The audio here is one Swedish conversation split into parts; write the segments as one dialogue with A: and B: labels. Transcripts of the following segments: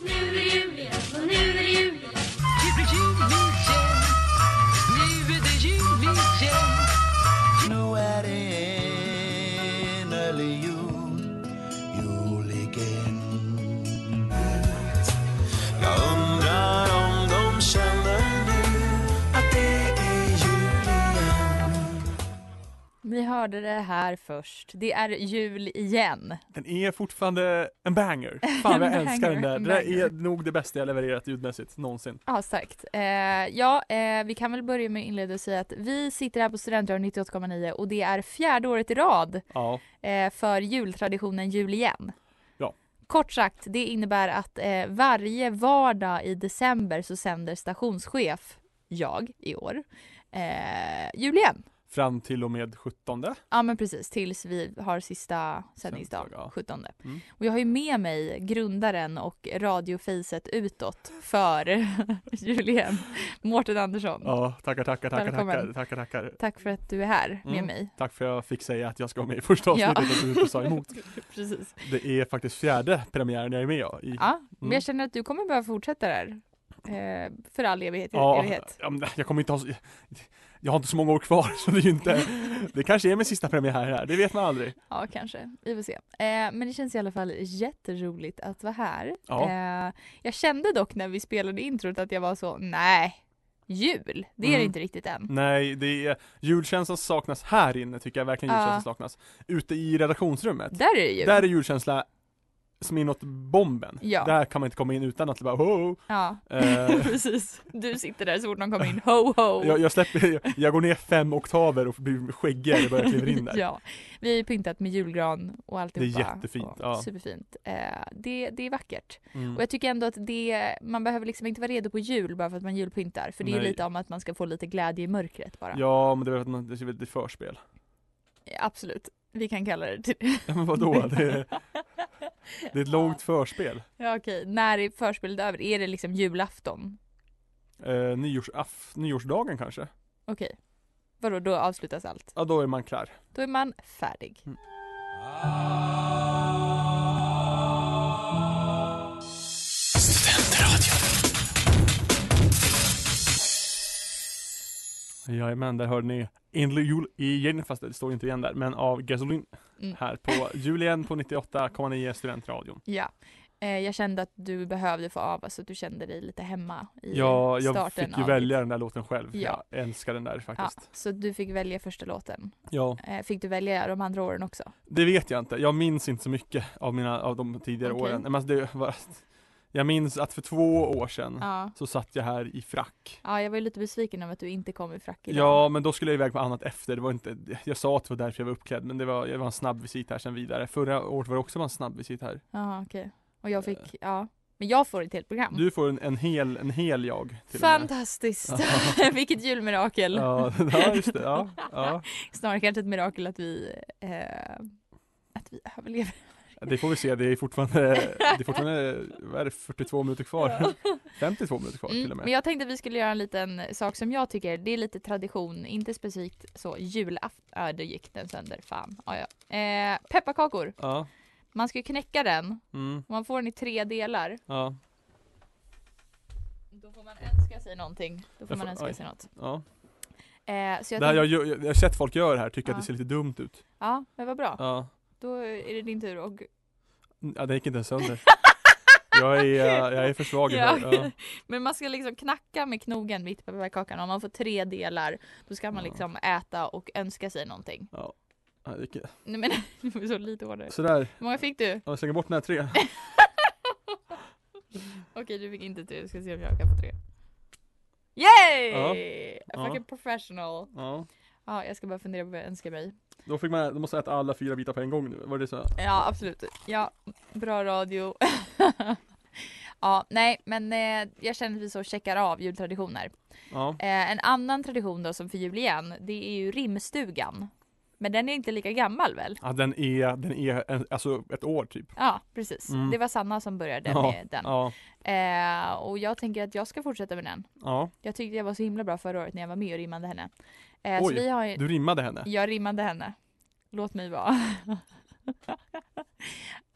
A: Nu är det jul igen och nu är det jul igen.
B: Nu är det enölig jul, jul igen Jag undrar om de känner nu att det är jul igen
C: Ni hörde det här först. Det är jul igen.
D: Den är fortfarande en banger. Fan
C: En
D: jag älskar den
C: banger,
D: där.
C: en
D: Det där är
C: banger.
D: nog det bästa jag levererat ljudmässigt någonsin.
C: Ja, starkt. Eh, ja, eh, vi kan väl börja med att inleda och säga att vi sitter här på Studentradion 98,9 och det är fjärde året i rad
D: Ja,
C: eh, för jultraditionen Jul igen.
D: Ja.
C: Kort sagt, det innebär att eh, varje vardag i december så sänder stationschef, jag i år, eh, Jul igen.
D: fram till och med 17.
C: Ja men precis, tills vi har sista sändningsdag,
D: Sändningsdag, ja.
C: 17.
D: Mm.
C: Och jag har ju med mig grundaren och radiofacet utåt för Julien, Mårten Andersson.
D: Ja, tackar, tackar, tackar, tackar,
C: Välkommen.
D: tackar, tackar.
C: Tack för att du är här med
D: Mm.
C: mig.
D: Tack för att jag fick säga att jag ska vara med i första
C: Ja.
D: avsnittet och du inte sa emot.
C: Precis.
D: Det är faktiskt fjärde premiären jag är med i.
C: Ja, men
D: Mm.
C: jag känner att du kommer behöva fortsätta där. Eh, för all evighet.
D: Ja,
C: evighet.
D: ja, men jag kommer inte ha så, Jag har inte så många år kvar så det är ju inte Det kanske är min sista premiär här, det vet man aldrig
C: Ja, kanske. Vi får se. Eh, men det känns i alla fall jätteroligt att vara här.
D: Ja.
C: Eh, jag kände dock när vi spelade introt att jag var så, nej, jul, det är det
D: Mm.
C: inte riktigt än.
D: Nej, det är Julkänslan saknas här inne tycker jag verkligen
C: Ja.
D: julkänslan saknas Ute i redaktionsrummet
C: Där är det jul.
D: Där är julkänsla som inåt bomben
C: Ja.
D: Där kan man inte komma in utan att det bara oh,
C: Ja,
D: Eh.
C: precis. Du sitter där så fort någon kommer in, ho ho.
D: jag, jag släpper, jag, jag går ner fem oktaver och blir skäggigare bara jag kliver in där
C: Ja, vi har ju pyntat med julgran och alltihopa.
D: Det är jättefint,
C: Och
D: ja.
C: Superfint. Eh, det, det är vackert. Och
D: mm.
C: jag tycker ändå att det, man behöver liksom inte vara redo på jul bara för att man julpyntar. För det är ju
D: Nej.
C: lite om att man ska få lite glädje i mörkret bara.
D: Ja, men det är väl att man- det är väl lite förspel
C: Absolut. Vi kan kalla det till
D: Ja, men vadå? Det är, det är ett långt förspel
C: Ja okej, när är förspelet över? Är det liksom julafton?
D: eh, nyårsaff, Nyårsdagen kanske?
C: Okej. Vadå, då avslutas allt?
D: Ja, då är man klar
C: Då är man färdig.
D: Jajamän, där hörde ni Enlig jul igen, fast det står inte igen där, men av Gasolin
C: Mm.
D: här på Julien på 98,9 Studentradion.
C: Ja. Eh, jag kände att du behövde få av så att du kände dig lite hemma i
D: Ja, jag
C: starten
D: fick ju
C: av
D: välja
C: ditt-
D: den där låten själv.
C: Ja.
D: Jag älskar den där
C: Ja,
D: faktiskt.
C: så du fick välja första låten.
D: Ja.
C: Eh, fick du välja de andra åren också?
D: det vet jag inte. Jag minns inte så mycket av mina, av de tidigare
C: Okej.
D: åren. Men alltså det var, jag minns att för två år sedan
C: Ja.
D: så satt jag här i frack.
C: Ja, jag var ju lite besviken över att du inte kom i frack idag.
D: Ja, men då skulle jag iväg på annat efter. Det var inte, jag sa att det var därför jag var uppklädd, men det var, det var en snabb visit här sen vidare. Förra året var det också bara en snabb visit här.
C: Ja, okej. Och jag fick, ja. Men jag får ett helt program.
D: Du får en, en hel, en hel jag till och med.
C: Fantastiskt! Vilket julmirakel!
D: Ja, ja just det. Ja, ja.
C: Snarare kanske ett mirakel att vi, eh, att vi överlever.
D: Det får vi se, det är fortfarande, det är fortfarande vad är det, 42 minuter kvar. 52 minuter kvar till
C: Mm,
D: och
C: men
D: med.
C: jag tänkte att vi skulle göra en liten sak som jag tycker, det är lite tradition, inte specifikt så julafton, ja då gick den sönder, fan. Ja, ja. Eh, pepparkakor,
D: Ja,
C: man ska ju knäcka den,
D: mm,
C: man får den i tre delar.
D: ja,
C: Då får man önska sig någonting. Då får
D: Jag
C: man
D: får-
C: önska
D: oj.
C: sig något.
D: ja.
C: Eh, så jag
D: Det här
C: tänkte,
D: jag, gör- jag, jag har sett folk göra det här, tycker att
C: Ja.
D: det ser lite dumt ut.
C: ja men vad bra,
D: Ja,
C: då är det din tur och
D: ja det gick inte ens sönder. Jag är, eh, jag är för svag
C: Ja.
D: ja. ja.
C: Men man ska liksom knacka med knogen mitt på pepparkakan. Om man får tre delar då ska man
D: Ja.
C: liksom äta och önska sig någonting.
D: Ja, det gick-
C: Nej men det var så lite hårdare.
D: Sådär,
C: Hur många fick du?
D: jag slänger bort den här tre.
C: Okej du fick inte tre, jag ska se om jag kan få tre. Yay!
D: Ja.
C: A Fucking professional.
D: Ja.
C: Ja, jag ska bara fundera på vad jag önskar mig.
D: Då fick man, då måste jag äta alla fyra bitar på en gång nu. Var det så?
C: Ja, absolut. Ja, bra radio. ja, nej, men eh, jag känner att vi så checkar av jultraditioner.
D: Ja.
C: Eh, en annan tradition då som för jul igen, det är ju rimstugan. Men den är inte lika gammal väl?
D: ja den är, den är en, alltså ett år typ.
C: Ja, precis.
D: Mm.
C: Det var Sanna som började
D: Ja,
C: med den.
D: Ja.
C: Eh, och jag tänker att jag ska fortsätta med den.
D: Ja.
C: Jag tyckte jag var så himla bra förra året när jag var med och rimmade henne. Eh, så
D: Oj,
C: vi har ju...
D: Du rimmade henne.
C: Jag rimmade henne. Låt mig vara.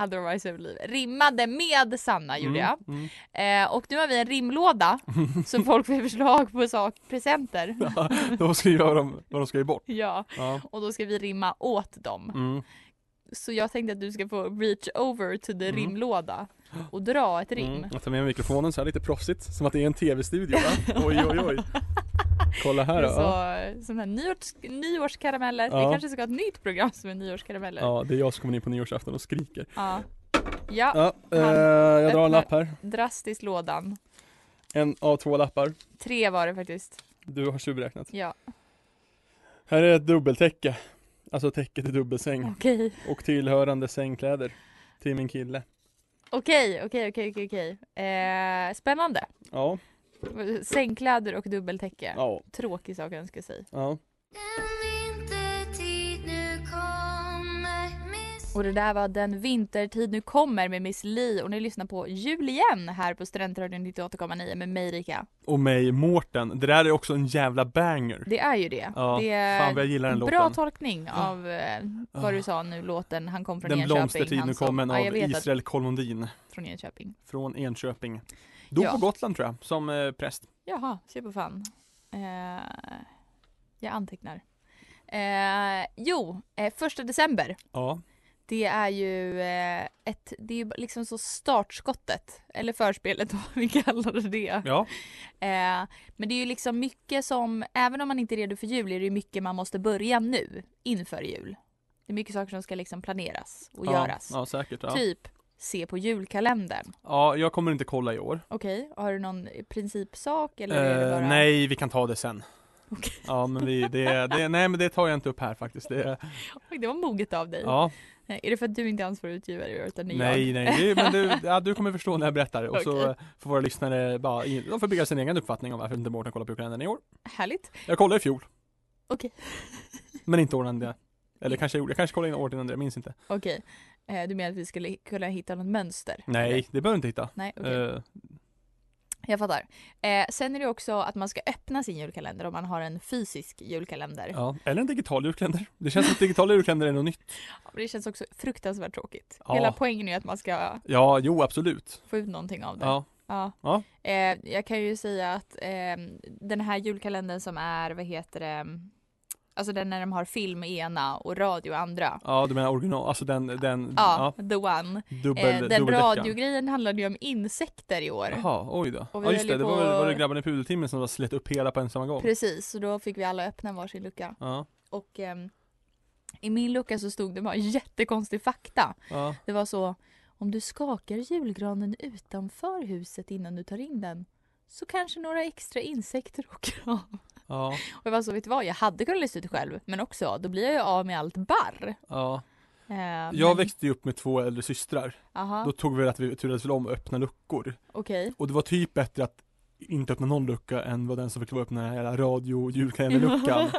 C: Otherwise överliv. Rimmade med Sanna gjorde jag.
D: Mm, mm.
C: Eh, och nu har vi en rimlåda så folk får förslag på sak, presenter.
D: mm. Då skriver jag vad de, vad de ska ge bort.
C: Ja,
D: Ja.
C: och då ska vi rimma åt dem.
D: Mm.
C: Så jag tänkte att du ska få reach over to the
D: Mm.
C: rimlåda och dra ett rim.
D: Mm. Jag tar med mikrofonen så här lite proffsigt, som att det är en tv-studio va? Oj oj oj. Kolla här då. Ja.
C: Så, sån här nyårs, nyårskarameller.
D: Ja.
C: Vi kanske ska ha ett nytt program som är nyårskarameller. Ja.
D: ja, det är jag som kommer in på nyårsafton och skriker.
C: Ja.
D: Ja, eh,
C: han
D: jag drar
C: öppnar-
D: en lapp här.
C: drastiskt lådan.
D: En av två lappar.
C: Tre var det faktiskt.
D: Du har tjuvräknat.
C: Ja,
D: Här är ett dubbeltäcke. Alltså täcket i dubbelsäng.
C: okej.
D: Och tillhörande sängkläder. Till min kille.
C: Okej, okej, okej, okej, okej. Eh, spännande.
D: Ja,
C: Sängkläder och dubbeltäcke.
D: ja,
C: Tråkig sak att önska sig.
D: ja.
A: Den vintertid nu kommer Miss
C: Och det där var Den vintertid nu kommer med Miss Li och ni lyssnar på Jul igen här på Studentradion 98,9 med mig Rika.
D: Och mig, Mårten. Det där är också en jävla banger.
C: Det är ju det.
D: Ja,
C: det är
D: fan vad jag gillar den
C: bra
D: låten.
C: tolkning av eh, vad du sa nu låten Han kom från
D: Den
C: Enköping.
D: blomstertid
C: han
D: nu
C: som-
D: kommer
C: ja, jag
D: av
C: vet att-
D: Israel Kolondin.
C: Från Enköping.
D: Från Enköping. Dog
C: Ja.
D: på Gotland tror jag, som eh, präst.
C: Jaha, se på fan. Eh, jag antecknar. Eh, jo, eh, första december.
D: Ja.
C: Det är ju eh, ett, det är ju liksom så startskottet, eller förspelet vad vi kallar det.
D: Ja.
C: Eh, men det är ju liksom mycket som, även om man inte är redo för jul är det ju mycket man måste börja nu inför jul. Det är mycket saker som ska liksom planeras och
D: ja,
C: göras.
D: ja, säkert. Ja.
C: Typ se på julkalendern.
D: ja, jag kommer inte kolla i år.
C: Okej, har du någon principsak eller är det
D: Eh,
C: bara...
D: nej, vi kan ta det sen.
C: Okej.
D: Ja, men vi, det, det, nej, men det tar jag inte upp här faktiskt. Det,
C: Oj, det var moget av dig.
D: ja,
C: Eh, Är det för att du inte är ansvarig utgivare i år, utan det är
D: nej,
C: jag?
D: nej, det, men du, ja, du kommer förstå när jag berättar och så
C: Okej.
D: eh, får våra lyssnare bara, in- de får bygga sin egen uppfattning om varför inte Mårten kollar på julkalendern i år.
C: Härligt.
D: Jag kollade i fjol,
C: Okej.
D: men inte åren det. Eller kanske jag gjorde, jag kanske kollade in året innan det, jag minns inte.
C: Okej. Eh, du menar att vi skulle kunna hitta något mönster? eller?
D: Nej, det behöver du inte hitta.
C: Nej, okej.
D: Eh,
C: Jag fattar. Eh, sen är det också att man ska öppna sin julkalender om man har en fysisk julkalender.
D: ja. Eller en digital julkalender. Det känns som att digitala julkalender är något nytt.
C: Och Det känns också fruktansvärt tråkigt.
D: Ja.
C: Hela poängen är att man ska
D: Ja, jo absolut.
C: få ut någonting av det.
D: Ja,
C: Ja.
D: Ja.
C: Eh, jag kan ju säga att eh, den här julkalendern som är, vad heter det, alltså den när de har film i ena och radio i andra.
D: ja du menar original, alltså den, den,
C: Ja,
D: Mm,
C: the
D: ja,
C: one.
D: dubbel,
C: Eh, den
D: dubbeldäckaren.
C: radiogrejen handlade ju om insekter i år.
D: Jaha, oj då.
C: Och vi
D: Ja just
C: höll ju
D: det, det var
C: på-
D: väl var det grabbarna i pudeltimmen som var slet upp hela på en samma gång?
C: Precis, så då fick vi alla öppna varsin lucka.
D: Ja,
C: Och ehm, i min lucka så stod det bara jättekonstig fakta.
D: ja.
C: Det var så, om du skakar julgranen utanför huset innan du tar in den så kanske några extra insekter åker av.
D: Ja,
C: Och jag var så, vet du vad, jag hade kunnat lista ut det själv, men också, då blir jag ju av med allt barr.
D: ja.
C: Eh,
D: Jag
C: men-
D: växte ju upp med två äldre systrar. Då
C: Aha,
D: tog vi att vi turades väl om att öppna luckor.
C: okej.
D: Och det var typ bättre att inte öppna någon lucka än vad den som fick lov att öppna den här jävla radio julkalenderluckan.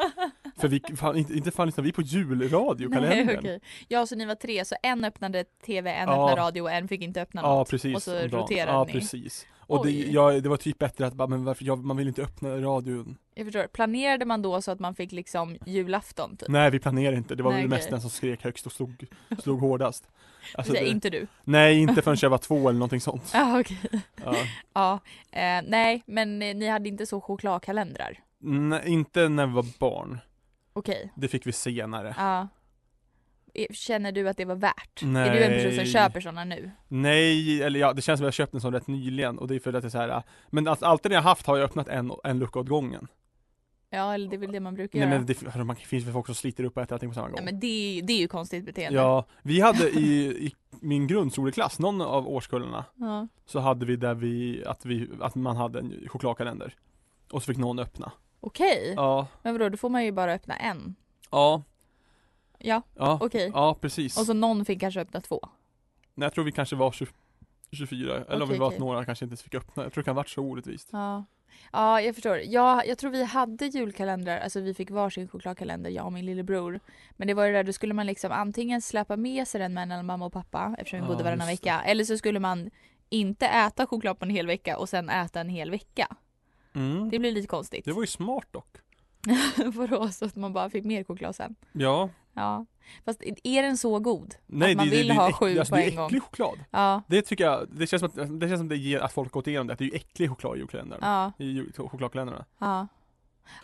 D: För vi, fan, inte, inte fan lyssnade vi på julradiokalendern.
C: Nej, okej. Ja, så ni var tre, så en öppnade tv, en
D: Ja.
C: öppnade radio och en fick inte öppna något.
D: Ja precis.
C: Och så
D: om dagen.
C: roterade
D: Ja
C: ni.
D: precis. Och det,
C: Oj.
D: jag, det var typ bättre att bara, men varför, jag, man vill inte öppna radion.
C: Jag förstår. Planerade man då så att man fick liksom julafton typ?
D: Nej vi planerade inte, det var
C: Nej,
D: väl mest
C: okej.
D: den som skrek högst och slog, slog hårdast. Alltså,
C: Så,
D: det-
C: Inte du?
D: Nej, inte förrän jag var två eller någonting sånt.
C: Ah, okej.
D: Ja.
C: Ja, eh, nej men eh, ni hade inte så chokladkalendrar?
D: Nej, inte när vi var barn.
C: Okej,
D: Det fick vi senare.
C: ja. är- Känner du att det var värt? Är du en
D: Nej.
C: person som köper sådana nu?
D: Nej, eller ja, det känns som att jag köpt en sån rätt nyligen och det är för att det är så här. Men alltså, alltid när jag haft har jag öppnat en, en lucka åt gången.
C: Ja, eller det är väl det man brukar
D: Nej
C: göra?
D: men det hörru, man, det finns väl folk som sliter upp och äter allting på samma gång.
C: ja, men det, är, ju- det är ju konstigt beteende.
D: Ja, vi hade i, i min grundskoleklass, någon av årskullarna,
C: Ja.
D: så hade vi där vi, att vi, att man hade en chokladkalender. Och så fick någon öppna.
C: Okej,
D: Ja,
C: men vadå, då får man ju bara öppna en.
D: ja,
C: Ja,
D: ja,
C: okej.
D: ja precis.
C: Och så någon fick kanske öppna två.
D: Nej, jag tror vi kanske var 20, 24, eller om vi
C: Okej,
D: var
C: okej.
D: att några kanske inte ens fick öppna. Jag tror det kan ha varit så orättvist.
C: Ja, ja jag förstår. Ja, jag tror vi hade julkalendrar, alltså vi fick varsin chokladkalender, jag och min lillebror. Men det var ju det där, då skulle man liksom antingen släpa med sig den mellan mamma och pappa eftersom vi
D: Ja,
C: bodde varannan
D: just
C: vecka. Eller så skulle man inte äta choklad på en hel vecka och sen äta en hel vecka.
D: Mm.
C: Det blir lite konstigt.
D: Det var ju smart dock.
C: Vadå, så att man bara fick mer choklad sen.
D: Ja.
C: Ja. Fast är den så god?
D: Nej,
C: man
D: det, det,
C: vill
D: det, är
C: ha
D: äck-
C: sju
D: alltså,
C: på
D: det är
C: en gång.
D: äcklig choklad.
C: Ja,
D: Det tycker jag, det känns som att det, känns som det ger att folk gått igenom det, att det är ju äcklig choklad i julkalendern.
C: ja,
D: I jul- chokladkalendrarna.
C: ja.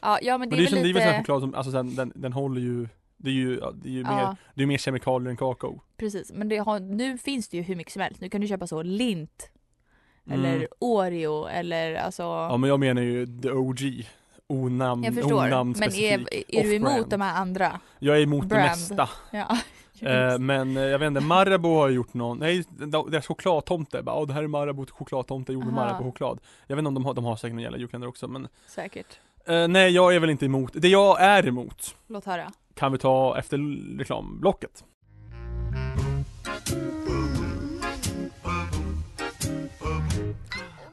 C: Ja, ja men
D: Det
C: det
D: är,
C: är
D: det är
C: väl
D: som- det är väl sån här
C: lite...
D: choklad som, alltså sen, den, den håller ju, det är ju, ja, det är ju mer,
C: Ja,
D: det är mer kemikalier än kakao.
C: precis. Men det har, nu finns det ju hur mycket som helst. Nu kan du köpa så lint eller
D: Mm.
C: Oreo eller alltså...
D: Ja men jag menar ju the OG. Onamn,
C: jag förstår.
D: onamn
C: Men
D: specifik.
C: är, är du emot
D: off-brand.
C: de här andra?
D: Jag är emot det
C: brand.
D: mesta.
C: Ja.
D: Eh, men eh, jag vet inte, Marabou har ju gjort någon, nej de- deras chokladtomte, bara, "Åh, det här är Marabou till chokladtomte, gjord med
C: Aha.
D: Marabou-choklad. Jag vet inte om de har, de har säkert någon jävla julkalender också men
C: Säkert.
D: eh, Nej jag är väl inte emot, det jag är emot
C: Låt höra.
D: kan vi ta efter l- reklamblocket.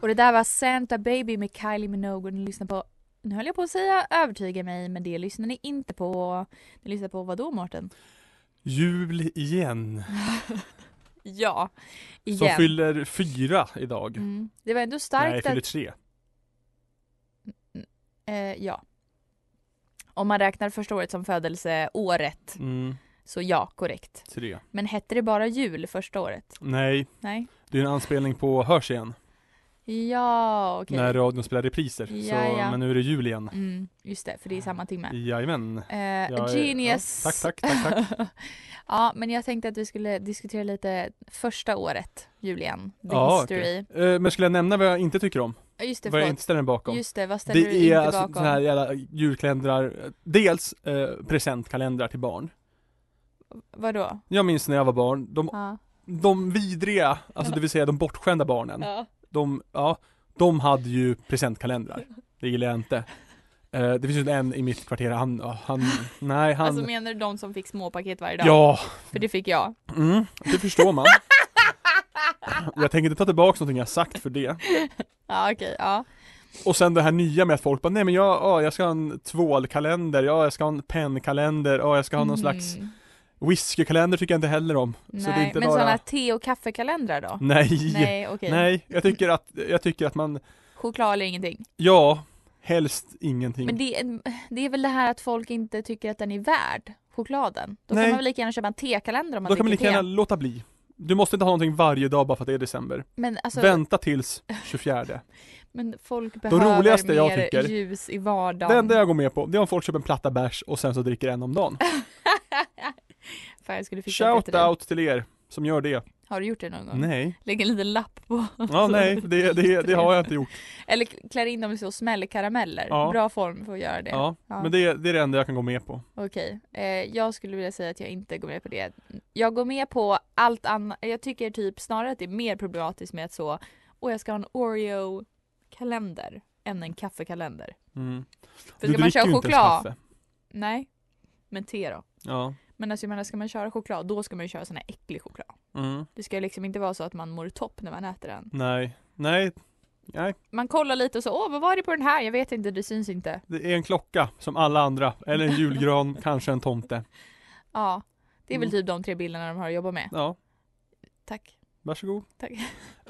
C: Och det där var Santa Baby med Kylie Minogue och ni lyssnar på nu höll jag på att säga övertyga mig men det lyssnar ni inte på. Ni lyssnar på vad då Mårten?
D: Jul igen,
C: Ja, igen.
D: som fyller fyra idag.
C: mm. Det var ändå
D: Nej,
C: starkt
D: fyller
C: att...
D: tre.
C: Eh, ja. Om man räknar första året som födelseåret
D: Mm,
C: så ja, korrekt.
D: tre.
C: Men hette det bara jul första året?
D: Nej,
C: Nej.
D: det är en anspelning på Hörs igen,
C: Ja, okej.
D: när radion spelar repriser.
C: Ja,
D: Så,
C: ja.
D: men nu är det jul igen.
C: Mm, just det, för det är samma timme.
D: Jajamän.
C: Eh,
D: Jag är-
C: genius!
D: ja, tack, tack, tack,
C: ja, men jag tänkte att vi skulle diskutera lite första året, Julian. The
D: Ja,
C: history.
D: Eh, men skulle jag nämna vad jag inte tycker om?
C: Ja, Just det,
D: Vad jag
C: förlåt.
D: inte ställer mig bakom?
C: Typ Just det, vad ställer du
D: Det är
C: inte
D: alltså
C: bakom?
D: sådana här jävla julkalendrar, dels eh, presentkalendrar till barn.
C: Vadå?
D: Jag minns när jag var barn, de,
C: Ja.
D: de vidriga, alltså det vill säga de bortskämda barnen,
C: Ja.
D: de, ja, de hade ju presentkalendrar. Det gillar jag inte. Eh, det finns ju en i mitt kvarter, han, ja, han, nej han,
C: Alltså menar du de som fick småpaket varje dag?
D: ja,
C: För det fick jag.
D: mm, det förstår man. Jag tänker inte ta tillbaka någonting jag sagt för det.
C: Ja, okej, ja.
D: Och sen det här nya med att folk bara, nej men jag, ja, jag ska ha en tvålkalender, ja jag ska ha en pennkalender, ja jag ska ha någon slags
C: Mm.
D: Whiskykalender tycker jag inte heller om.
C: Nej,
D: så det är inte
C: men
D: bara...
C: sådana te och kaffekalendrar då?
D: Nej, nej.
C: Nej, okej.
D: jag, tycker att, jag tycker att man,
C: Choklad eller ingenting.
D: ja, helst ingenting.
C: Men det är, det är väl det här att folk inte tycker att den är värd chokladen. Då
D: Nej.
C: kan man väl lika gärna köpa en tekalender om man
D: Då kan man
C: dricker
D: lika
C: te.
D: gärna låta bli. Du måste inte ha någonting varje dag bara för att det är december.
C: Men, alltså,
D: Vänta tills 24.
C: men folk behöver
D: roligaste
C: mer
D: jag tycker-
C: ljus i
D: Det
C: vardagen.
D: enda jag går med på, det är om folk köper en platta bärs och sen så dricker en om dagen.
C: Fan, jag skulle fixa
D: Shout
C: bättre.
D: out till er som gör det.
C: Har du gjort det någon gång?
D: Nej.
C: Lägg en liten lapp på.
D: Ja, nej, det, det, det har jag inte gjort.
C: Eller klär in dem i så smällkarameller.
D: Ja.
C: Bra form för att göra det.
D: Ja,
C: Ja.
D: men det, det är det enda jag kan gå med på.
C: Okej, eh, jag skulle vilja säga att jag inte går med på det. Jag går med på allt annat. Jag tycker typ snarare att det är mer problematiskt med att så, åh jag ska ha en Oreo-kalender än en kaffekalender.
D: Mm.
C: För
D: du
C: ska man
D: dricker
C: köra
D: ju inte ens
C: choklad?
D: kaffe.
C: Nej, men te då.
D: Ja.
C: Men alltså jag menar, ska man köra choklad då ska man ju köra sån här äcklig choklad.
D: Mm.
C: Det ska ju liksom inte vara så att man mår topp när man äter den.
D: Nej. Nej, nej.
C: Man kollar lite och så, åh vad var det på den här? Jag vet inte, det syns inte.
D: Det är en klocka som alla andra, eller en julgran, kanske en tomte.
C: Ja, det är väl
D: Mm.
C: typ de tre bilderna de har att jobba med.
D: Ja,
C: Tack.
D: varsågod.
C: Tack.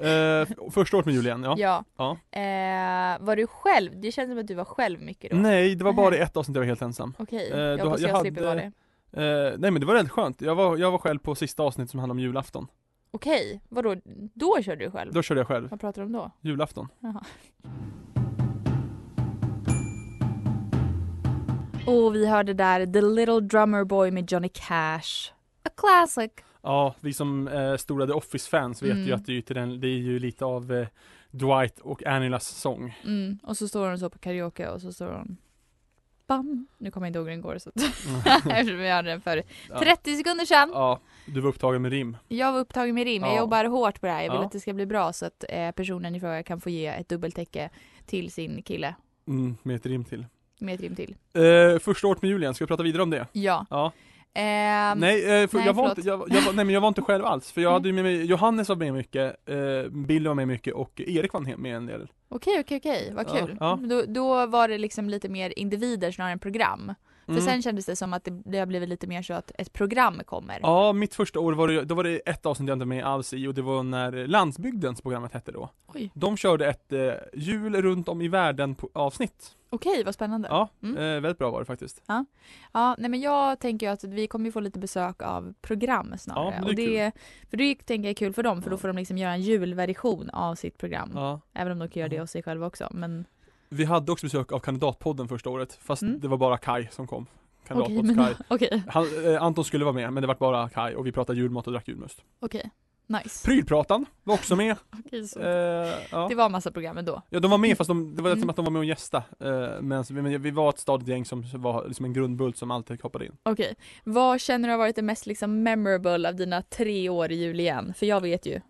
D: Eh, första året med Julian, ja.
C: Ja.
D: Ja.
C: Eh, var du själv? Det kändes som att du var själv mycket då.
D: Nej, det var bara i ett avsnitt jag var helt ensam.
C: Okej,
D: Eh,
C: jag
D: då-
C: hoppas
D: jag
C: jag,
D: hade-
C: slipper vara det.
D: Eh, nej men det var rätt skönt. Jag var, jag var själv på sista avsnittet som handlade om julafton.
C: Okej, vadå? Då körde du själv?
D: Då körde jag själv,
C: Vad pratar du om då?
D: julafton.
C: Och vi hörde där The Little Drummer Boy med Johnny Cash. A Classic.
D: Ja, vi som eh, stora The Office-fans vet
C: Mm.
D: ju att det är, ju till den, det är ju lite av eh, Dwight och Annilas sång.
C: Mm. Och så står hon så på karaoke och så står hon Bam! Nu kommer jag inte ihåg hur den går så att eftersom vi hade den för
D: Ja.
C: 30 sekunder sedan.
D: Ja, du var upptagen med rim.
C: Jag var upptagen med rim, jag
D: Ja.
C: jobbar hårt på det här. Jag vill
D: Ja.
C: att det ska bli bra så att eh, personen i fråga kan få ge ett dubbeltäcke till sin kille
D: Mm, med ett rim till.
C: med ett rim till.
D: Eh, första året med Julian, ska vi prata vidare om det?
C: Ja.
D: Ja.
C: Ehm,
D: nej, eh, för
C: nej,
D: jag var
C: förlåt.
D: inte, jag, jag, var- nej men jag var inte själv alls, för jag
C: Mm.
D: hade ju med mig, Johannes var med mycket, eh, Billy var med mycket och Erik var med en del.
C: Okej, okej, okej, vad
D: Ja,
C: kul.
D: ja.
C: Då, då var det liksom lite mer individer snarare än program.
D: Mm.
C: För sen kändes det som att det, det har blivit lite mer så att ett program kommer.
D: Ja, mitt första år var det, då var det ett avsnitt jag inte var med alls i och det var när Landsbygdens programmet hette då.
C: Oj.
D: De körde ett eh, jul runt om i världen på, avsnitt.
C: Okej, vad spännande.
D: Ja,
C: Mm.
D: eh, väldigt bra var det faktiskt.
C: Ja, nej men jag tänker ju att vi kommer ju få lite besök av program snarare.
D: Ja, men det är
C: och det, för det tänker jag är kul för dem, för då får de liksom göra en julversion av sitt program.
D: Ja.
C: Även om de kan göra det
D: Mm.
C: av sig själva också. Men
D: Vi hade också besök av Kandidatpodden första året, fast
C: Mm.
D: det var bara Kai som kom.
C: okej,
D: Kandidatpodden
C: men-
D: Kai.
C: okej,
D: Han, eh, Anton skulle vara med, men det var bara Kai och vi pratade julmat och drack julmust.
C: okej. Nice.
D: Prylpratan var också med.
C: Okej, så.
D: Eh, ja.
C: Det var massa program ändå.
D: ja, de var med fast de, det var
C: Mm.
D: som att de var med och gästa. Eh, men men vi var ett stadigt gäng som var liksom en grundbult som alltid hoppade in.
C: Okej. Vad känner du har varit det mest liksom memorable av dina tre år i jul igen? För jag vet ju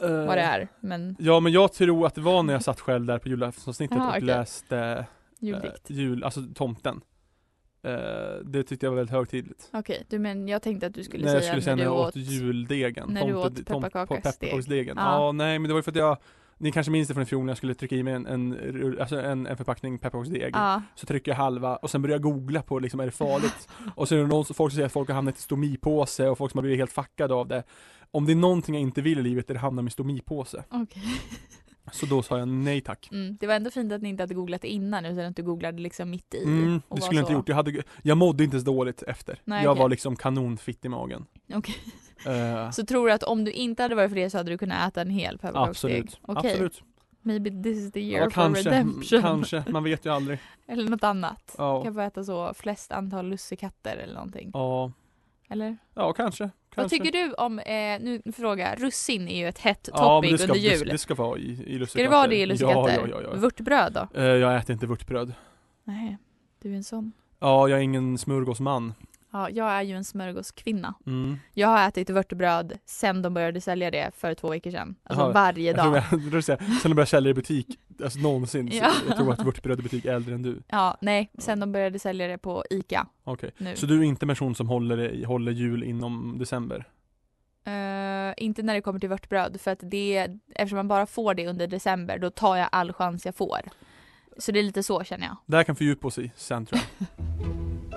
D: Eh,
C: vad det är, men
D: Ja men jag tror att det var när jag satt själv där på julaftonsavsnittet
C: Aha,
D: och
C: okej.
D: läste eh,
C: juldikt.
D: jul, alltså tomten. Eh, det tyckte jag var väldigt högtidligt.
C: Okej, du men jag tänkte att du skulle
D: när
C: säga
D: jag skulle säga
C: när du
D: jag
C: åt
D: åt juldegen.
C: när du
D: tomte-
C: åt
D: tomt-
C: pepparkakas-
D: pepparkaksdegen.
C: Ja.
D: Ja. nej men det var ju för att jag, ni kanske minns det från i fjol när jag skulle trycka i mig en, en, rull- alltså en, en förpackning pepparkaksdeg.
C: Ja,
D: Så trycker jag halva och sen börjar jag googla på liksom, är det farligt? och så är det någon, som- folk som säger att folk har hamnat i stomipåse och folk som har blivit helt fuckade av det. Om det är någonting jag inte vill i livet är det att hamna med stomipåse.
C: okej.
D: Så då sa jag nej tack.
C: Mm, det var ändå fint att ni inte hade googlat det innan utan att du googlade liksom mitt i.
D: Mm,
C: och
D: det
C: var
D: skulle jag inte
C: så.
D: gjort. Jag, hade, jag mådde inte så dåligt efter.
C: Nej,
D: jag
C: okej.
D: var liksom kanonfitt i magen.
C: Okej.
D: Eh,
C: Så tror du att om du inte hade varit för det så hade du kunnat äta en hel pepparkaksdeg?
D: absolut.
C: Okej,
D: absolut.
C: maybe this is the year
D: Ja,
C: for
D: kanske,
C: redemption.
D: kanske. Man vet ju aldrig.
C: Eller något annat.
D: Ja,
C: Kan få äta så flest antal lussekatter eller någonting.
D: ja,
C: Eller?
D: ja kanske.
C: Vad
D: kanske.
C: tycker du om, eh, nu fråga, russin är ju ett hett
D: ja,
C: topic
D: men det ska,
C: under
D: det ska-
C: jul.
D: Det ska vara i, i lussekatter.
C: Ska det vara det i
D: Ja,
C: lussekatter?
D: ja, ja. ja.
C: Vörtbröd då?
D: Eh, jag äter inte vörtbröd.
C: Nej, du är en sån.
D: Ja, jag är ingen smörgåsman.
C: Ja, jag är ju en smörgåskvinna.
D: Mm.
C: Jag har ätit vörtbröd sen de började sälja det för två veckor sedan. Alltså
D: Jaha,
C: varje
D: Jag tror
C: dag.
D: jag, jag tror säga, sen de började sälja i butik, alltså någonsin, så
C: Ja.
D: jag tror att vörtbröd i butik är äldre än du.
C: Ja, nej, sen de började sälja det på ICA
D: Okej.
C: nu.
D: Så du är inte en person som håller, i- håller jul inom december?
C: Eh, inte när det kommer till vörtbröd för att det, eftersom man bara får det under december, då tar jag all chans jag får. Så det är lite så känner jag.
D: Det här kan fördjupa oss i sen tror jag.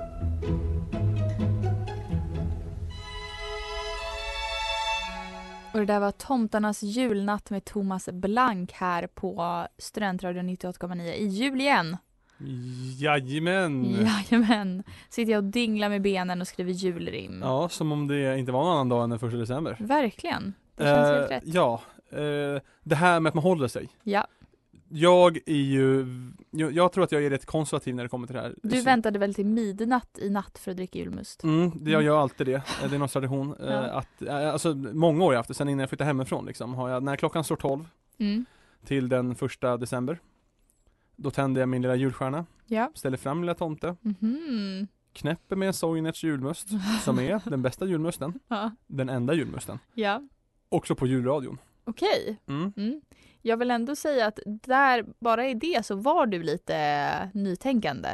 C: Och det där var Tomtarnas julnatt med Thomas Blank här på Studentradion 98,9 i jul igen.
D: Jajamän!
C: Jajamän. Sitter jag och dinglar med benen och skriver julrim.
D: Ja, som om det inte var någon annan dag än den första december.
C: Verkligen. Det känns helt
D: Eh,
C: rätt.
D: Ja, eh, det här med att man håller sig.
C: Ja.
D: Jag är ju, jag, jag tror att jag är rätt konservativ när det kommer till det här.
C: Du
D: Så-
C: väntade väl till midnatt i natt för att dricka julmust?
D: Mm, det, jag gör alltid det. Eh, Det är någon tradition. eh,
C: Ja.
D: Att, eh, alltså, många år jag haft det, sen innan jag flyttade hemifrån liksom, har jag, när klockan slår 12
C: Mm.
D: till den första december, då tänder jag min lilla julstjärna,
C: Ja.
D: ställer fram lilla tomte,
C: Mhm.
D: knäpper med en Soinerts julmust, som är den bästa julmusten,
C: Ja.
D: den enda julmusten.
C: ja.
D: Också på julradion.
C: Okej.
D: Mm.
C: Mm. Jag vill ändå säga att där, bara i det så var du lite nytänkande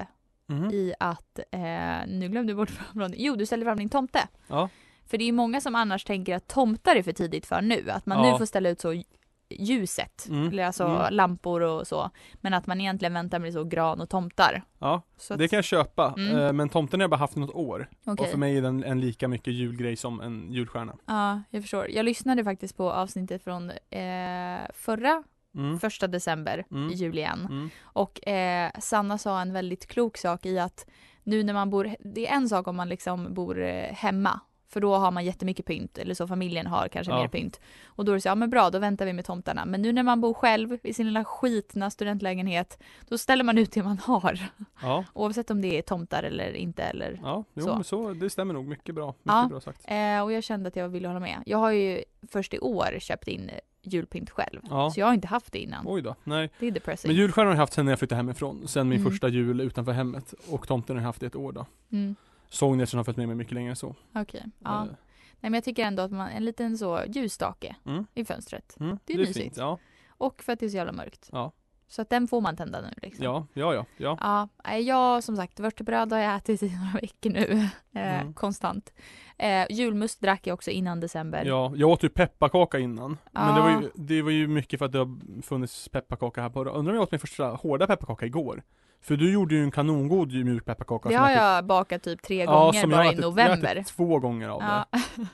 D: Mhm.
C: i att, eh, nu glömde jag bort från, jo du ställer fram din tomte.
D: Ja.
C: För det är ju många som annars tänker att tomtar är för tidigt för nu, att man
D: Ja.
C: nu får ställa ut så ljuset,
D: Mm.
C: eller alltså
D: Mm.
C: lampor och så, men att man egentligen väntar med så gran och tomtar.
D: Ja,
C: Så
D: det
C: att,
D: kan jag köpa.
C: Mm.
D: eh, Men tomten har jag bara haft i något år.
C: okej.
D: Och för mig är den en lika mycket julgrej som en julstjärna.
C: Ja, jag förstår. Jag lyssnade faktiskt på avsnittet från eh, förra,
D: Mm.
C: första december,
D: Mm.
C: i jul igen.
D: Mm.
C: Och eh, Sanna sa en väldigt klok sak i att nu när man bor, det är en sak om man liksom bor eh, hemma För då har man jättemycket pynt, eller så familjen har kanske
D: Ja.
C: mer pynt. Och då är det så, ja men bra, då väntar vi med tomtarna. Men nu när man bor själv i sin lilla skitna studentlägenhet, då ställer man ut det man har.
D: Ja,
C: Oavsett om det är tomtar eller inte eller
D: ja jo,
C: Så.
D: Men så, det stämmer nog. Mycket bra. Mycket
C: Ja.
D: bra sagt.
C: Eh, och jag kände att jag ville hålla med. Jag har ju först i år köpt in eh, julpynt själv.
D: Ja.
C: Så jag har inte haft det innan.
D: Oj då, nej.
C: Det är depressing.
D: Men julstjärnor har jag haft sen när jag flyttade hemifrån, sen min
C: Mm.
D: första jul utanför hemmet. Och tomten har jag haft i ett år då.
C: Mm,
D: Sångnäsen har följt med mig mycket längre än så.
C: Okej. Ja.
D: Eh,
C: Nej, men jag tycker ändå att man, en liten så ljusstake
D: Mm.
C: i fönstret.
D: mm,
C: det är mysigt.
D: Fint. Ja,
C: Och för att det är så jävla mörkt.
D: Ja.
C: Så att den får man tända nu liksom.
D: ja, ja, ja. ja.
C: Ja, nej, jag som sagt, vörtbröd har jag ätit i några veckor nu. Eh,
D: Mm.
C: Konstant. Eh, julmust drack jag också innan december.
D: Ja, jag åt ju pepparkaka innan. Men det
C: Ja.
D: var, ju, det var ju mycket för att det har funnits pepparkaka här på Undrar om jag åt min första hårda pepparkaka igår? För du gjorde ju en kanongod ju mjuk pepparkaka
C: det
D: som
C: har
D: fick-
C: jag bakat typ tre
D: Ja,
C: gånger
D: som jag
C: bara
D: har
C: i
D: ätit- Jag har
C: november.
D: ätit två gånger av det.
C: Ja.
D: Men,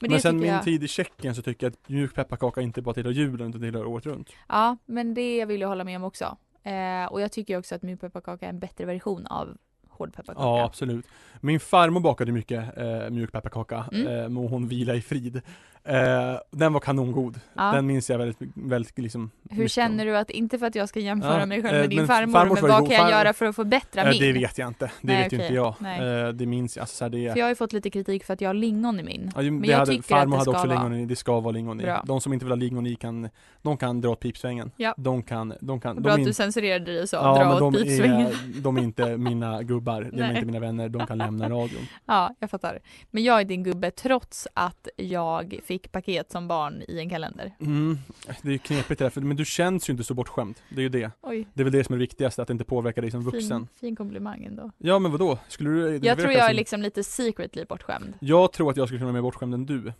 C: Men, det
D: sen
C: tycker
D: min
C: jag...
D: tid i Tjeckien så tycker jag att mjuk pepparkaka inte bara tillhör julen utan tillhör året runt.
C: Ja, men det vill jag hålla med om också. Eh, och jag tycker också att mjuk pepparkaka är en bättre version av hård pepparkaka.
D: Ja, absolut. Min farmor bakade mycket eh, mjuk pepparkaka,
C: Mm.
D: eh, må hon vila i frid. Eh, den var kanongod.
C: Ja.
D: Den minns jag väldigt, väldigt liksom
C: Hur känner du att, inte för att jag ska jämföra
D: Ja,
C: mig
D: eh,
C: själv med din
D: men
C: farmor,
D: farmors
C: men
D: var
C: vad
D: god.
C: kan jag
D: Farmor-
C: göra för att förbättra
D: Eh,
C: min?
D: Det vet jag inte. Det
C: Nej,
D: vet ju
C: okej.
D: inte jag.
C: Nej.
D: Eh, det minns jag. Alltså, så här, det,
C: För jag har ju fått lite kritik för att jag har lingon i min.
D: Ja, ju-
C: Men
D: det
C: jag
D: hade,
C: tycker
D: farmor
C: att det
D: hade också
C: ska vara.
D: lingon i, det ska vara lingon i.
C: Bra.
D: De som inte vill ha lingon i kan, de kan dra åt pipsvängen.
C: Ja.
D: De kan, de
C: Bra
D: kan, de
C: att du
D: in-
C: censurerade dig och sa
D: Ja,
C: dra
D: men
C: åt
D: de
C: pipsvängen.
D: är, de är inte mina gubbar, de är
C: Nej.
D: inte mina vänner, de kan lämna radion.
C: Ja, jag fattar. Men jag är din gubbe trots att jag fick paket som barn i en kalender.
D: Mm, det är ju knepigt det där, för, men du känns ju inte så bortskämd. Det är ju det.
C: Oj,
D: Det är väl det som är det viktigaste, att det inte påverkar dig som vuxen.
C: fin, fin komplimang ändå.
D: Ja men vadå? Skulle du
C: Jag tror
D: verkar
C: jag är
D: som-
C: liksom lite secretly bortskämd.
D: Jag tror att jag skulle kunna vara mer bortskämd än du.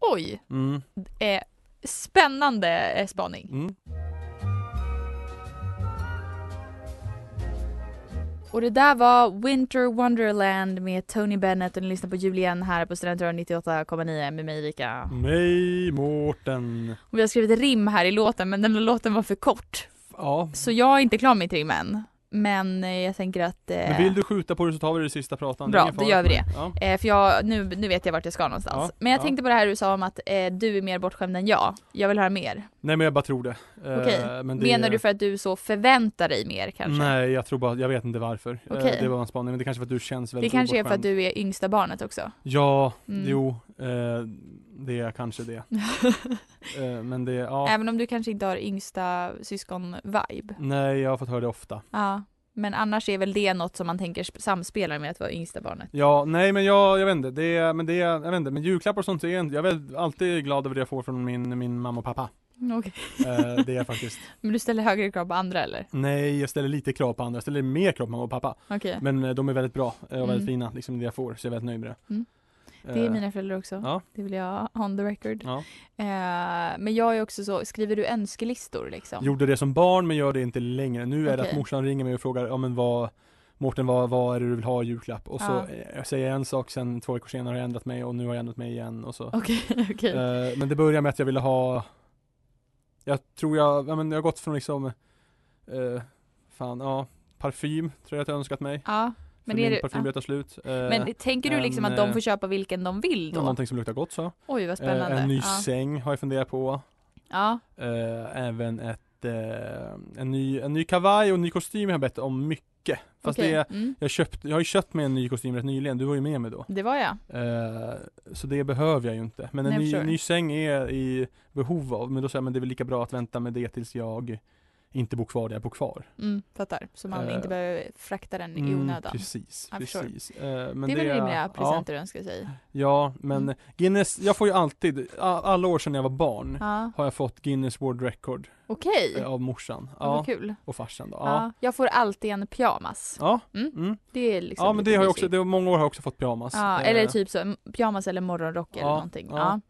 C: Oj,
D: Mm,
C: eh, spännande eh, spaning.
D: mm.
C: Och det där var Winter Wonderland med Tony Bennett och ni lyssnar på Julien här på Studentradion 98,9 med mig Erika.
D: Nej Mårten.
C: Och vi har skrivit rim här i låten men den här låten var för kort
D: Ja.
C: så jag är inte klar med mitt rim än. Men eh, jag tänker att... eh,
D: Men vill du skjuta på det så tar vi det i sista pratan.
C: Bra,
D: är ingen
C: då
D: fara
C: gör vi
D: för mig. Ja.
C: eh, för jag, nu, nu vet jag vart jag ska någonstans.
D: Ja,
C: men jag
D: ja.
C: tänkte på det här du sa om att eh, du är mer bortskämd än jag. Jag vill höra mer.
D: Nej men jag bara tror det. Eh,
C: Okej.
D: men det-
C: Menar du för att du så förväntar dig mer kanske?
D: Nej jag tror bara, jag vet inte varför. Eh,
C: Okej.
D: Det var en spaning, men det kanske är för att du känns
C: det
D: väldigt
C: kanske är för att
D: obekväm.
C: du är yngsta barnet också.
D: Ja,
C: Mm.
D: jo. Eh, det är kanske det. eh, men det, ja.
C: Även om du kanske inte har yngsta syskon-vibe.
D: Nej jag har fått höra det ofta.
C: Ja, men annars är väl det något som man tänker sp- samspelar med att vara yngsta barnet.
D: Ja, nej men jag, jag vet inte. Det, är- men det, är- jag vet inte. Men julklappar och sånt, är, en- jag är väl alltid glad över det jag får från min, min mamma och pappa.
C: Mm, Okej.
D: Eh, det är jag faktiskt.
C: Men du ställer högre krav på andra eller?
D: Nej, jag ställer lite krav på andra. Jag ställer mer krav på mamma och pappa.
C: Okej.
D: Men eh, de är väldigt bra eh, och väldigt
C: Mm.
D: fina, liksom det jag får. Så jag är väldigt nöjd med det.
C: Mm. Det är
D: Eh,
C: mina föräldrar också.
D: ja.
C: Det vill jag ha on the record.
D: Ja.
C: Eh, men jag är också så, skriver du önskelistor liksom?
D: Gjorde det som barn men gör det inte längre. Nu är det att
C: Okej.
D: morsan ringer mig och frågar, ja men vad Mårten vad, vad är det du vill ha i julklapp? Och så
C: Ja.
D: eh, jag säger jag en sak sen två veckor senare har jag ändrat mig och nu har jag ändrat mig igen och så.
C: Okej, okej.
D: Eh, men det började med att jag ville ha Jag tror jag, ja men jag har gått från liksom eh, Fan, ja Parfym tror jag att jag önskat mig.
C: ja. Men
D: för
C: är
D: min
C: det-
D: parfym
C: ja.
D: börjar ta slut. Eh,
C: Men tänker du liksom
D: en,
C: att de
D: eh,
C: får köpa vilken de vill då?
D: Någonting som luktar gott så.
C: Oj vad
D: Eh,
C: spännande.
D: en ny
C: ja.
D: säng har jag funderat på.
C: ja.
D: Eh, även ett, eh, en, ny, en ny kavaj och en ny kostym har jag bett om mycket. Fast
C: okej.
D: det,
C: mm.
D: jag, köpt, jag har ju köpt mig en ny kostym rätt nyligen, du var ju med mig då.
C: det var jag.
D: Eh, så det behöver jag ju inte. Men en
C: Nej, jag
D: ny,
C: förstår.
D: ny säng är jag i behov av, men då säger man det är väl lika bra att vänta med det tills jag inte bor kvar där jag bor kvar.
C: Mm, fattar. Så man
D: Eh,
C: inte behöver frakta den i
D: Mm,
C: onödan.
D: precis,
C: Jag förstår.
D: precis. Eh, men
C: det är väl rimliga
D: ja,
C: presenter du önskar sig?
D: ja, men
C: Mm.
D: Guinness, jag får ju alltid, a- alla år sedan jag var barn
C: Ja.
D: har jag fått Guinness World Record
C: Okej.
D: eh, av morsan
C: Ja,
D: ja,
C: Vad kul.
D: och farsan då. Ja.
C: Ja. Jag får alltid en pyjamas.
D: Ja.
C: Mm.
D: Mm.
C: Det är liksom
D: Ja men
C: lite
D: det har jag
C: mysigt.
D: också, det, många år har jag också fått pyjamas.
C: Ja,
D: Eh,
C: eller typ så, en pyjamas eller morgonrock eller
D: ja,
C: någonting.
D: ja.
C: Ja. Ja.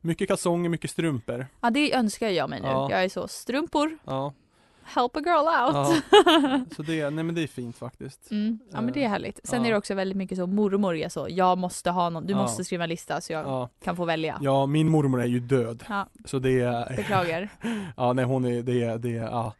D: Mycket kalsonger, mycket strumpor.
C: det önskar jag mig nu.
D: Ja.
C: Jag är så, strumpor,
D: Ja.
C: help a girl out.
D: ja. Så det, nej men det är fint faktiskt.
C: Mm. Ja men det är härligt. Sen
D: Ja.
C: är det också väldigt mycket så mormor är så, jag måste ha någon, du
D: Ja.
C: måste skriva en lista så jag
D: Ja.
C: kan få välja. Mm. Ja.
D: ja, min mormor är ju död. Så det, är-
C: beklagar.
D: ja nej hon är, det, är- det, är- ja.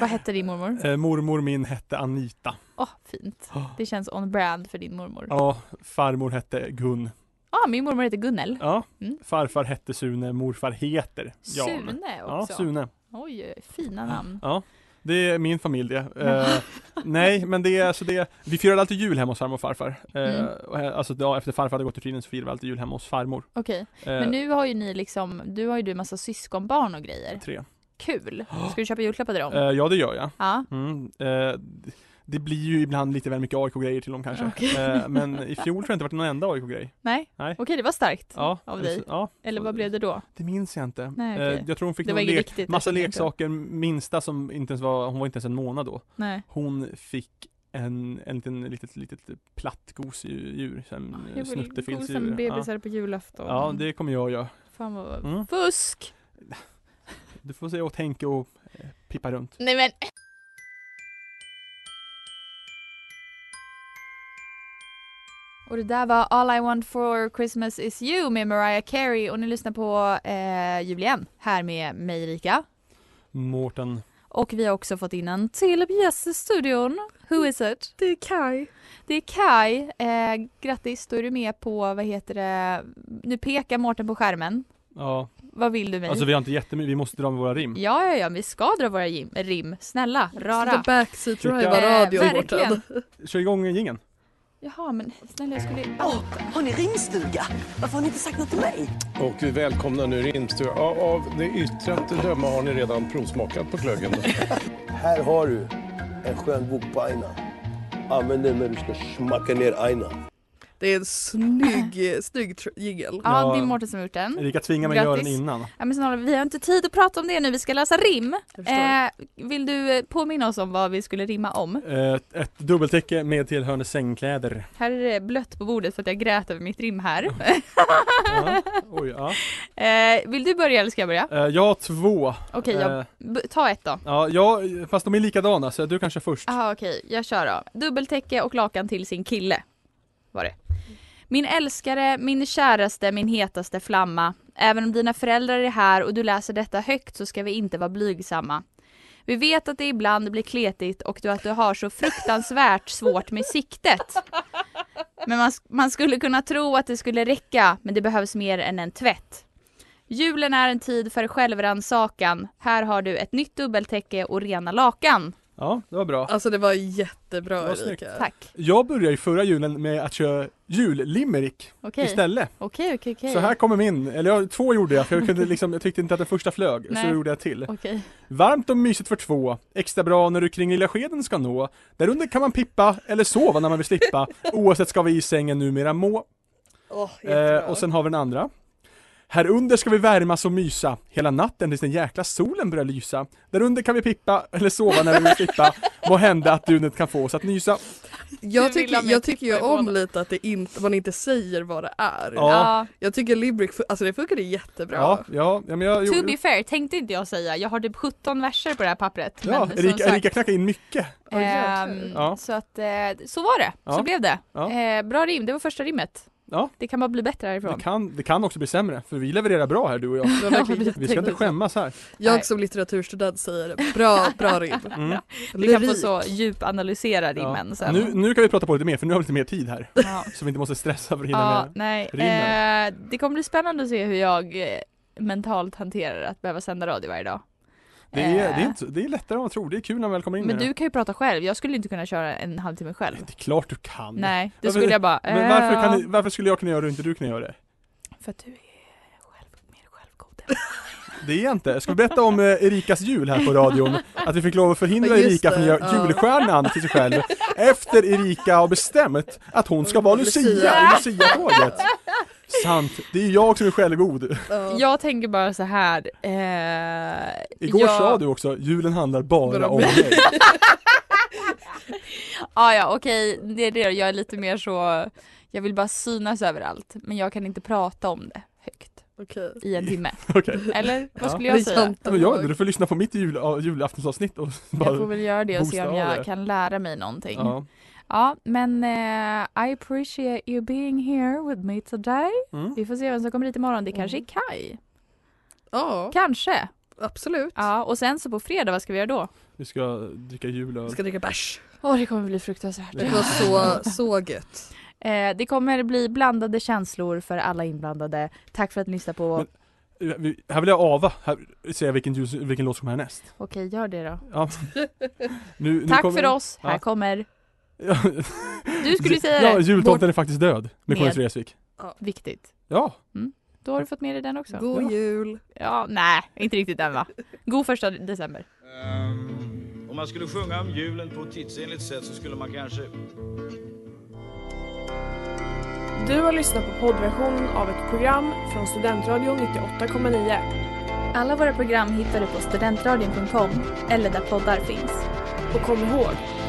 C: Vad hette din mormor?
D: Eh, Mormor min hette Anita.
C: Åh, fint. Det känns on brand för din mormor. Ja,
D: Ja, farmor hette Gun.
C: ah, min mormor heter Gunnel.
D: Ja.
C: Mm.
D: Farfar hette Sune, morfar heter Jan.
C: Sune
D: Ja,
C: också.
D: Sune.
C: Oj,
D: Ah.
C: fina namn.
D: Ja. Det är min familj det. Eh, nej, men det är alltså det. Vi firade alltid jul hemma hos farmor och farfar. Eh,
C: Mm.
D: och, eh, alltså ja, efter farfar hade gått ur tiden så firade vi alltid jul hemma hos farmor.
C: Okej,
D: Eh,
C: men nu har ju ni liksom, du har ju du massa syskonbarn och grejer.
D: Tre.
C: Kul! Ska du köpa julklappar till dem?
D: Eh, ja, det gör jag.
C: Ja.
D: Mm. Eh, d- det blir ju ibland lite väl mycket AIK-grejer till dem kanske.
C: Okej.
D: Eh, men i fjol tror jag inte det varit någon enda AIK-grej.
C: Nej,
D: Nej.
C: okej det var starkt
D: Ja, alltså,
C: av dig.
D: Ja,
C: Eller vad blev det då?
D: det minns jag inte.
C: Nej, okej.
D: Eh, jag tror hon fick
C: Det var
D: någon
C: inget
D: lek,
C: viktigt.
D: massa
C: jag tänker.
D: leksaker, minsta som inte ens var, hon var inte ens en månad då.
C: Nej.
D: Hon fick en, en liten, litet, litet platt gosedjur, en
C: Ah, Jag vill gosa med
D: snuttefilsdjur. Ja.
C: bebisar på julafton.
D: ja, det kommer jag göra.
C: Fan vad...
D: Mm.
C: Fusk!
D: Du får se och tänka och eh, pippa runt.
C: Nej men! Och det där var All I want for Christmas is you med Mariah Carey och ni lyssnar på eh, Jul igen här med mig Rika.
D: Mårten.
C: Och vi har också fått in en till gäst i studion. Who is it?
E: Det är Kai.
C: Det är Kai. Eh, grattis, då är du med på, vad heter det, nu pekar Mårten på skärmen.
D: Ja,
C: Vad vill du mig?
D: alltså vi har inte jättemycket, vi måste dra med våra rim.
C: Ja, ja, ja, men vi ska dra våra gym, rim. Snälla, rara.
F: The backseat
D: Tycker-
F: driver radio
C: Eh,
F: Mårten.
C: verkligen.
D: Kör igång jingeln.
C: Jaha, men snälla jag skulle...
G: Har ni ringstuga? Varför har ni inte sagt något till mig?
H: Och vi välkomnar nu Rimstur. Av, av det yttre att döma har ni redan provsmakat på glöggen.
I: Här har du en skön bok på aina. Använd den när du ska smacka ner aina.
G: Det är en snygg, snygg tr- jingel.
C: Ja,
D: Ja.
C: det är Mårten som har gjort den.
D: Erika tvingar mig att göra den
C: Mm. Grattis.
D: innan.
C: Ja, men snälla, vi har inte tid att prata om det nu, vi ska läsa rim. Eh, vill du eh, påminna oss om vad vi skulle rimma om?
D: Eh, ett dubbeltäcke med tillhörande sängkläder.
C: Här är det blött på bordet för att jag grät över mitt rim här.
D: Ja. Oj, ja.
C: Eh, vill du börja eller ska jag börja?
D: Eh, jag har två.
C: Okej, jag...
D: Eh,
C: b- ta ett då.
D: ja, jag, fast de är likadana så du kanske först.
C: Aha, okej, jag kör då. Dubbeltäcke och lakan till sin kille. Var det. Min älskare, min käraste, min hetaste flamma. Även om dina föräldrar är här och du läser detta högt så ska vi inte vara blygsamma. Vi vet att det ibland blir kletigt och du, att du har så fruktansvärt svårt med siktet. Men man, man skulle kunna tro att det skulle räcka, men det behövs mer än en tvätt. Julen är en tid för självrannsakan. Här har du ett nytt dubbeltäcke och rena lakan.
D: Ja, det var bra.
G: Alltså det var jättebra
D: Det var snyggt.
G: Erika.
C: Tack.
D: Jag började ju förra julen med att köra jullimerick
C: Okej.
D: istället.
C: Okej, okej, okej.
D: Så här kommer min, eller jag, två gjorde jag för jag, kunde liksom, jag tyckte inte att den första flög, så
C: Nej.
D: gjorde jag till.
C: Okej.
D: Varmt och mysigt för två, extra bra när du kring lilla skeden ska nå. Därunder kan man pippa, eller sova när man vill slippa, oavsett ska vi i sängen numera må.
G: Åh, jättebra.
D: Eh, och sen har vi den andra. Här under ska vi värmas och mysa hela natten tills den jäkla solen börjar lysa. Där under kan vi pippa eller sova när vi vill slippa. Må hända att dunet kan få oss att nysa.
C: Du
G: jag
C: vill ha
G: tycker,
C: mig
G: jag
C: att
G: tycker ju
C: tippa i
G: om
C: båda.
G: lite att det inte, man inte säger vad det är.
C: Ja.
G: Jag tycker Limerick, fu- alltså det funkade jättebra.
D: ja, ja, ja men jag
C: To be fair tänkte inte jag säga. Jag har typ 17 verser på det här pappret.
D: Ja,
C: men som
D: Erika,
C: sagt,
D: Erika knackar in mycket.
C: ehm,
D: Ja.
C: Så att eh, så var det. Så
D: Ja.
C: blev det.
D: Ja.
C: Eh, bra rim. Det var första rimmet.
D: Ja.
C: Det kan bara bli bättre
D: Det
C: härifrån.
D: kan, det kan också bli sämre, för vi levererar bra här du och jag.
G: Det var verkligen
C: Ja,
D: Vi ska inte
G: jättebra.
D: skämmas här.
C: Nej.
G: Jag som litteraturstudent säger bra, bra rim.
D: Mm.
C: Vi kan få
G: Lyrik.
C: så djupanalysera rimmen
D: Ja.
C: sen.
D: Nu, nu kan vi prata på lite mer, för nu har vi lite mer tid här.
C: Ja.
D: Så vi inte måste stressa för att hinna
C: Ja,
D: med.
C: nej.
D: rimmen.
C: Eh, det kommer bli spännande att se hur jag eh, mentalt hanterar att behöva sända radio varje dag.
D: Det är, det, är
C: Eh,
D: inte, så- det är lättare än man tror, det är kul när man väl kommer in
C: Men
D: i det.
C: du kan ju prata själv. Jag skulle inte kunna köra en halvtimme själv.
D: Det är klart du kan.
C: Nej, då
D: Varför-
C: skulle jag bara...
D: Men varför,
C: eh,
D: kan, ni- varför skulle jag kunna göra det och inte du kunna göra det?
C: För att du är själv, mer självgod än
D: Det är jag inte. Jag ska berätta om eh, Erikas jul här på radion. Att vi fick lov att förhindra
G: Ja, just
D: Erika
G: det.
D: från att göra
G: Ja.
D: julstjärnan till sig själv. Efter Erika har bestämt att hon ska vara Lucia i Lucia-tåget. Sant. Det är jag som är självgod.
G: Ja.
C: Jag tänker bara så här. Eh,
D: Igår
C: jag...
D: sa du också, julen handlar bara
G: Bara
D: om
G: mig.
D: dig.
C: Ah, ja, okej, det är det. Jag är lite mer så... Jag vill bara synas överallt, men jag kan inte prata om det högt
G: Okej.
C: i en timme.
D: Okej.
C: Eller vad
D: Ja.
C: skulle
G: Det är
C: jag säga?
G: sant.
D: Ja, Men jag vet inte, du får lyssna på mitt jul, ja, julaftonsavsnitt och
C: Jag får
D: bara...
C: väl göra det och se
D: boosta
C: om
D: av
C: jag
D: det.
C: kan lära mig någonting. Ja,
D: Ja.
C: men eh, I appreciate you being here with me today.
D: Mm.
C: Vi får se vem som kommer hit imorgon. Det kanske är Kai.
G: Ja,
C: Kanske.
G: absolut.
C: Ja, och sen så på fredag, vad ska vi göra då?
D: Vi ska dricka jul
G: Vi
D: och...
G: ska dricka bärs.
C: Åh, det kommer bli fruktansvärt.
G: Det var så, så gött.
C: Eh, det kommer bli blandade känslor för alla inblandade. Tack för att ni lyssnade på...
D: Men- Eh, Vi- Här vill jag ava, här ser jag vilken, ljus- vilken låt som är härnäst.
C: Okej, gör det då.
D: Ja. Nu, nu
C: Tack
D: kommer-
C: för oss,
D: Ja.
C: här kommer...
D: Ja.
C: Du skulle säga
D: Ja,
C: det.
D: jultomten är faktiskt död med
C: Med.
D: Cornelis Vreeswijk.
C: Viktigt.
D: Ja,
C: Då har du fått med dig den också.
J: God jul!
C: Ja, nej, inte riktigt den va? God första december.
B: Ehm, Om man skulle sjunga om julen på ett tidsenligt sätt så skulle man kanske...
G: Du har lyssnat på poddversionen av ett program från Studentradion 98,9.
K: Alla våra program hittar du på studentradion.com eller där poddar finns.
G: Och kom ihåg,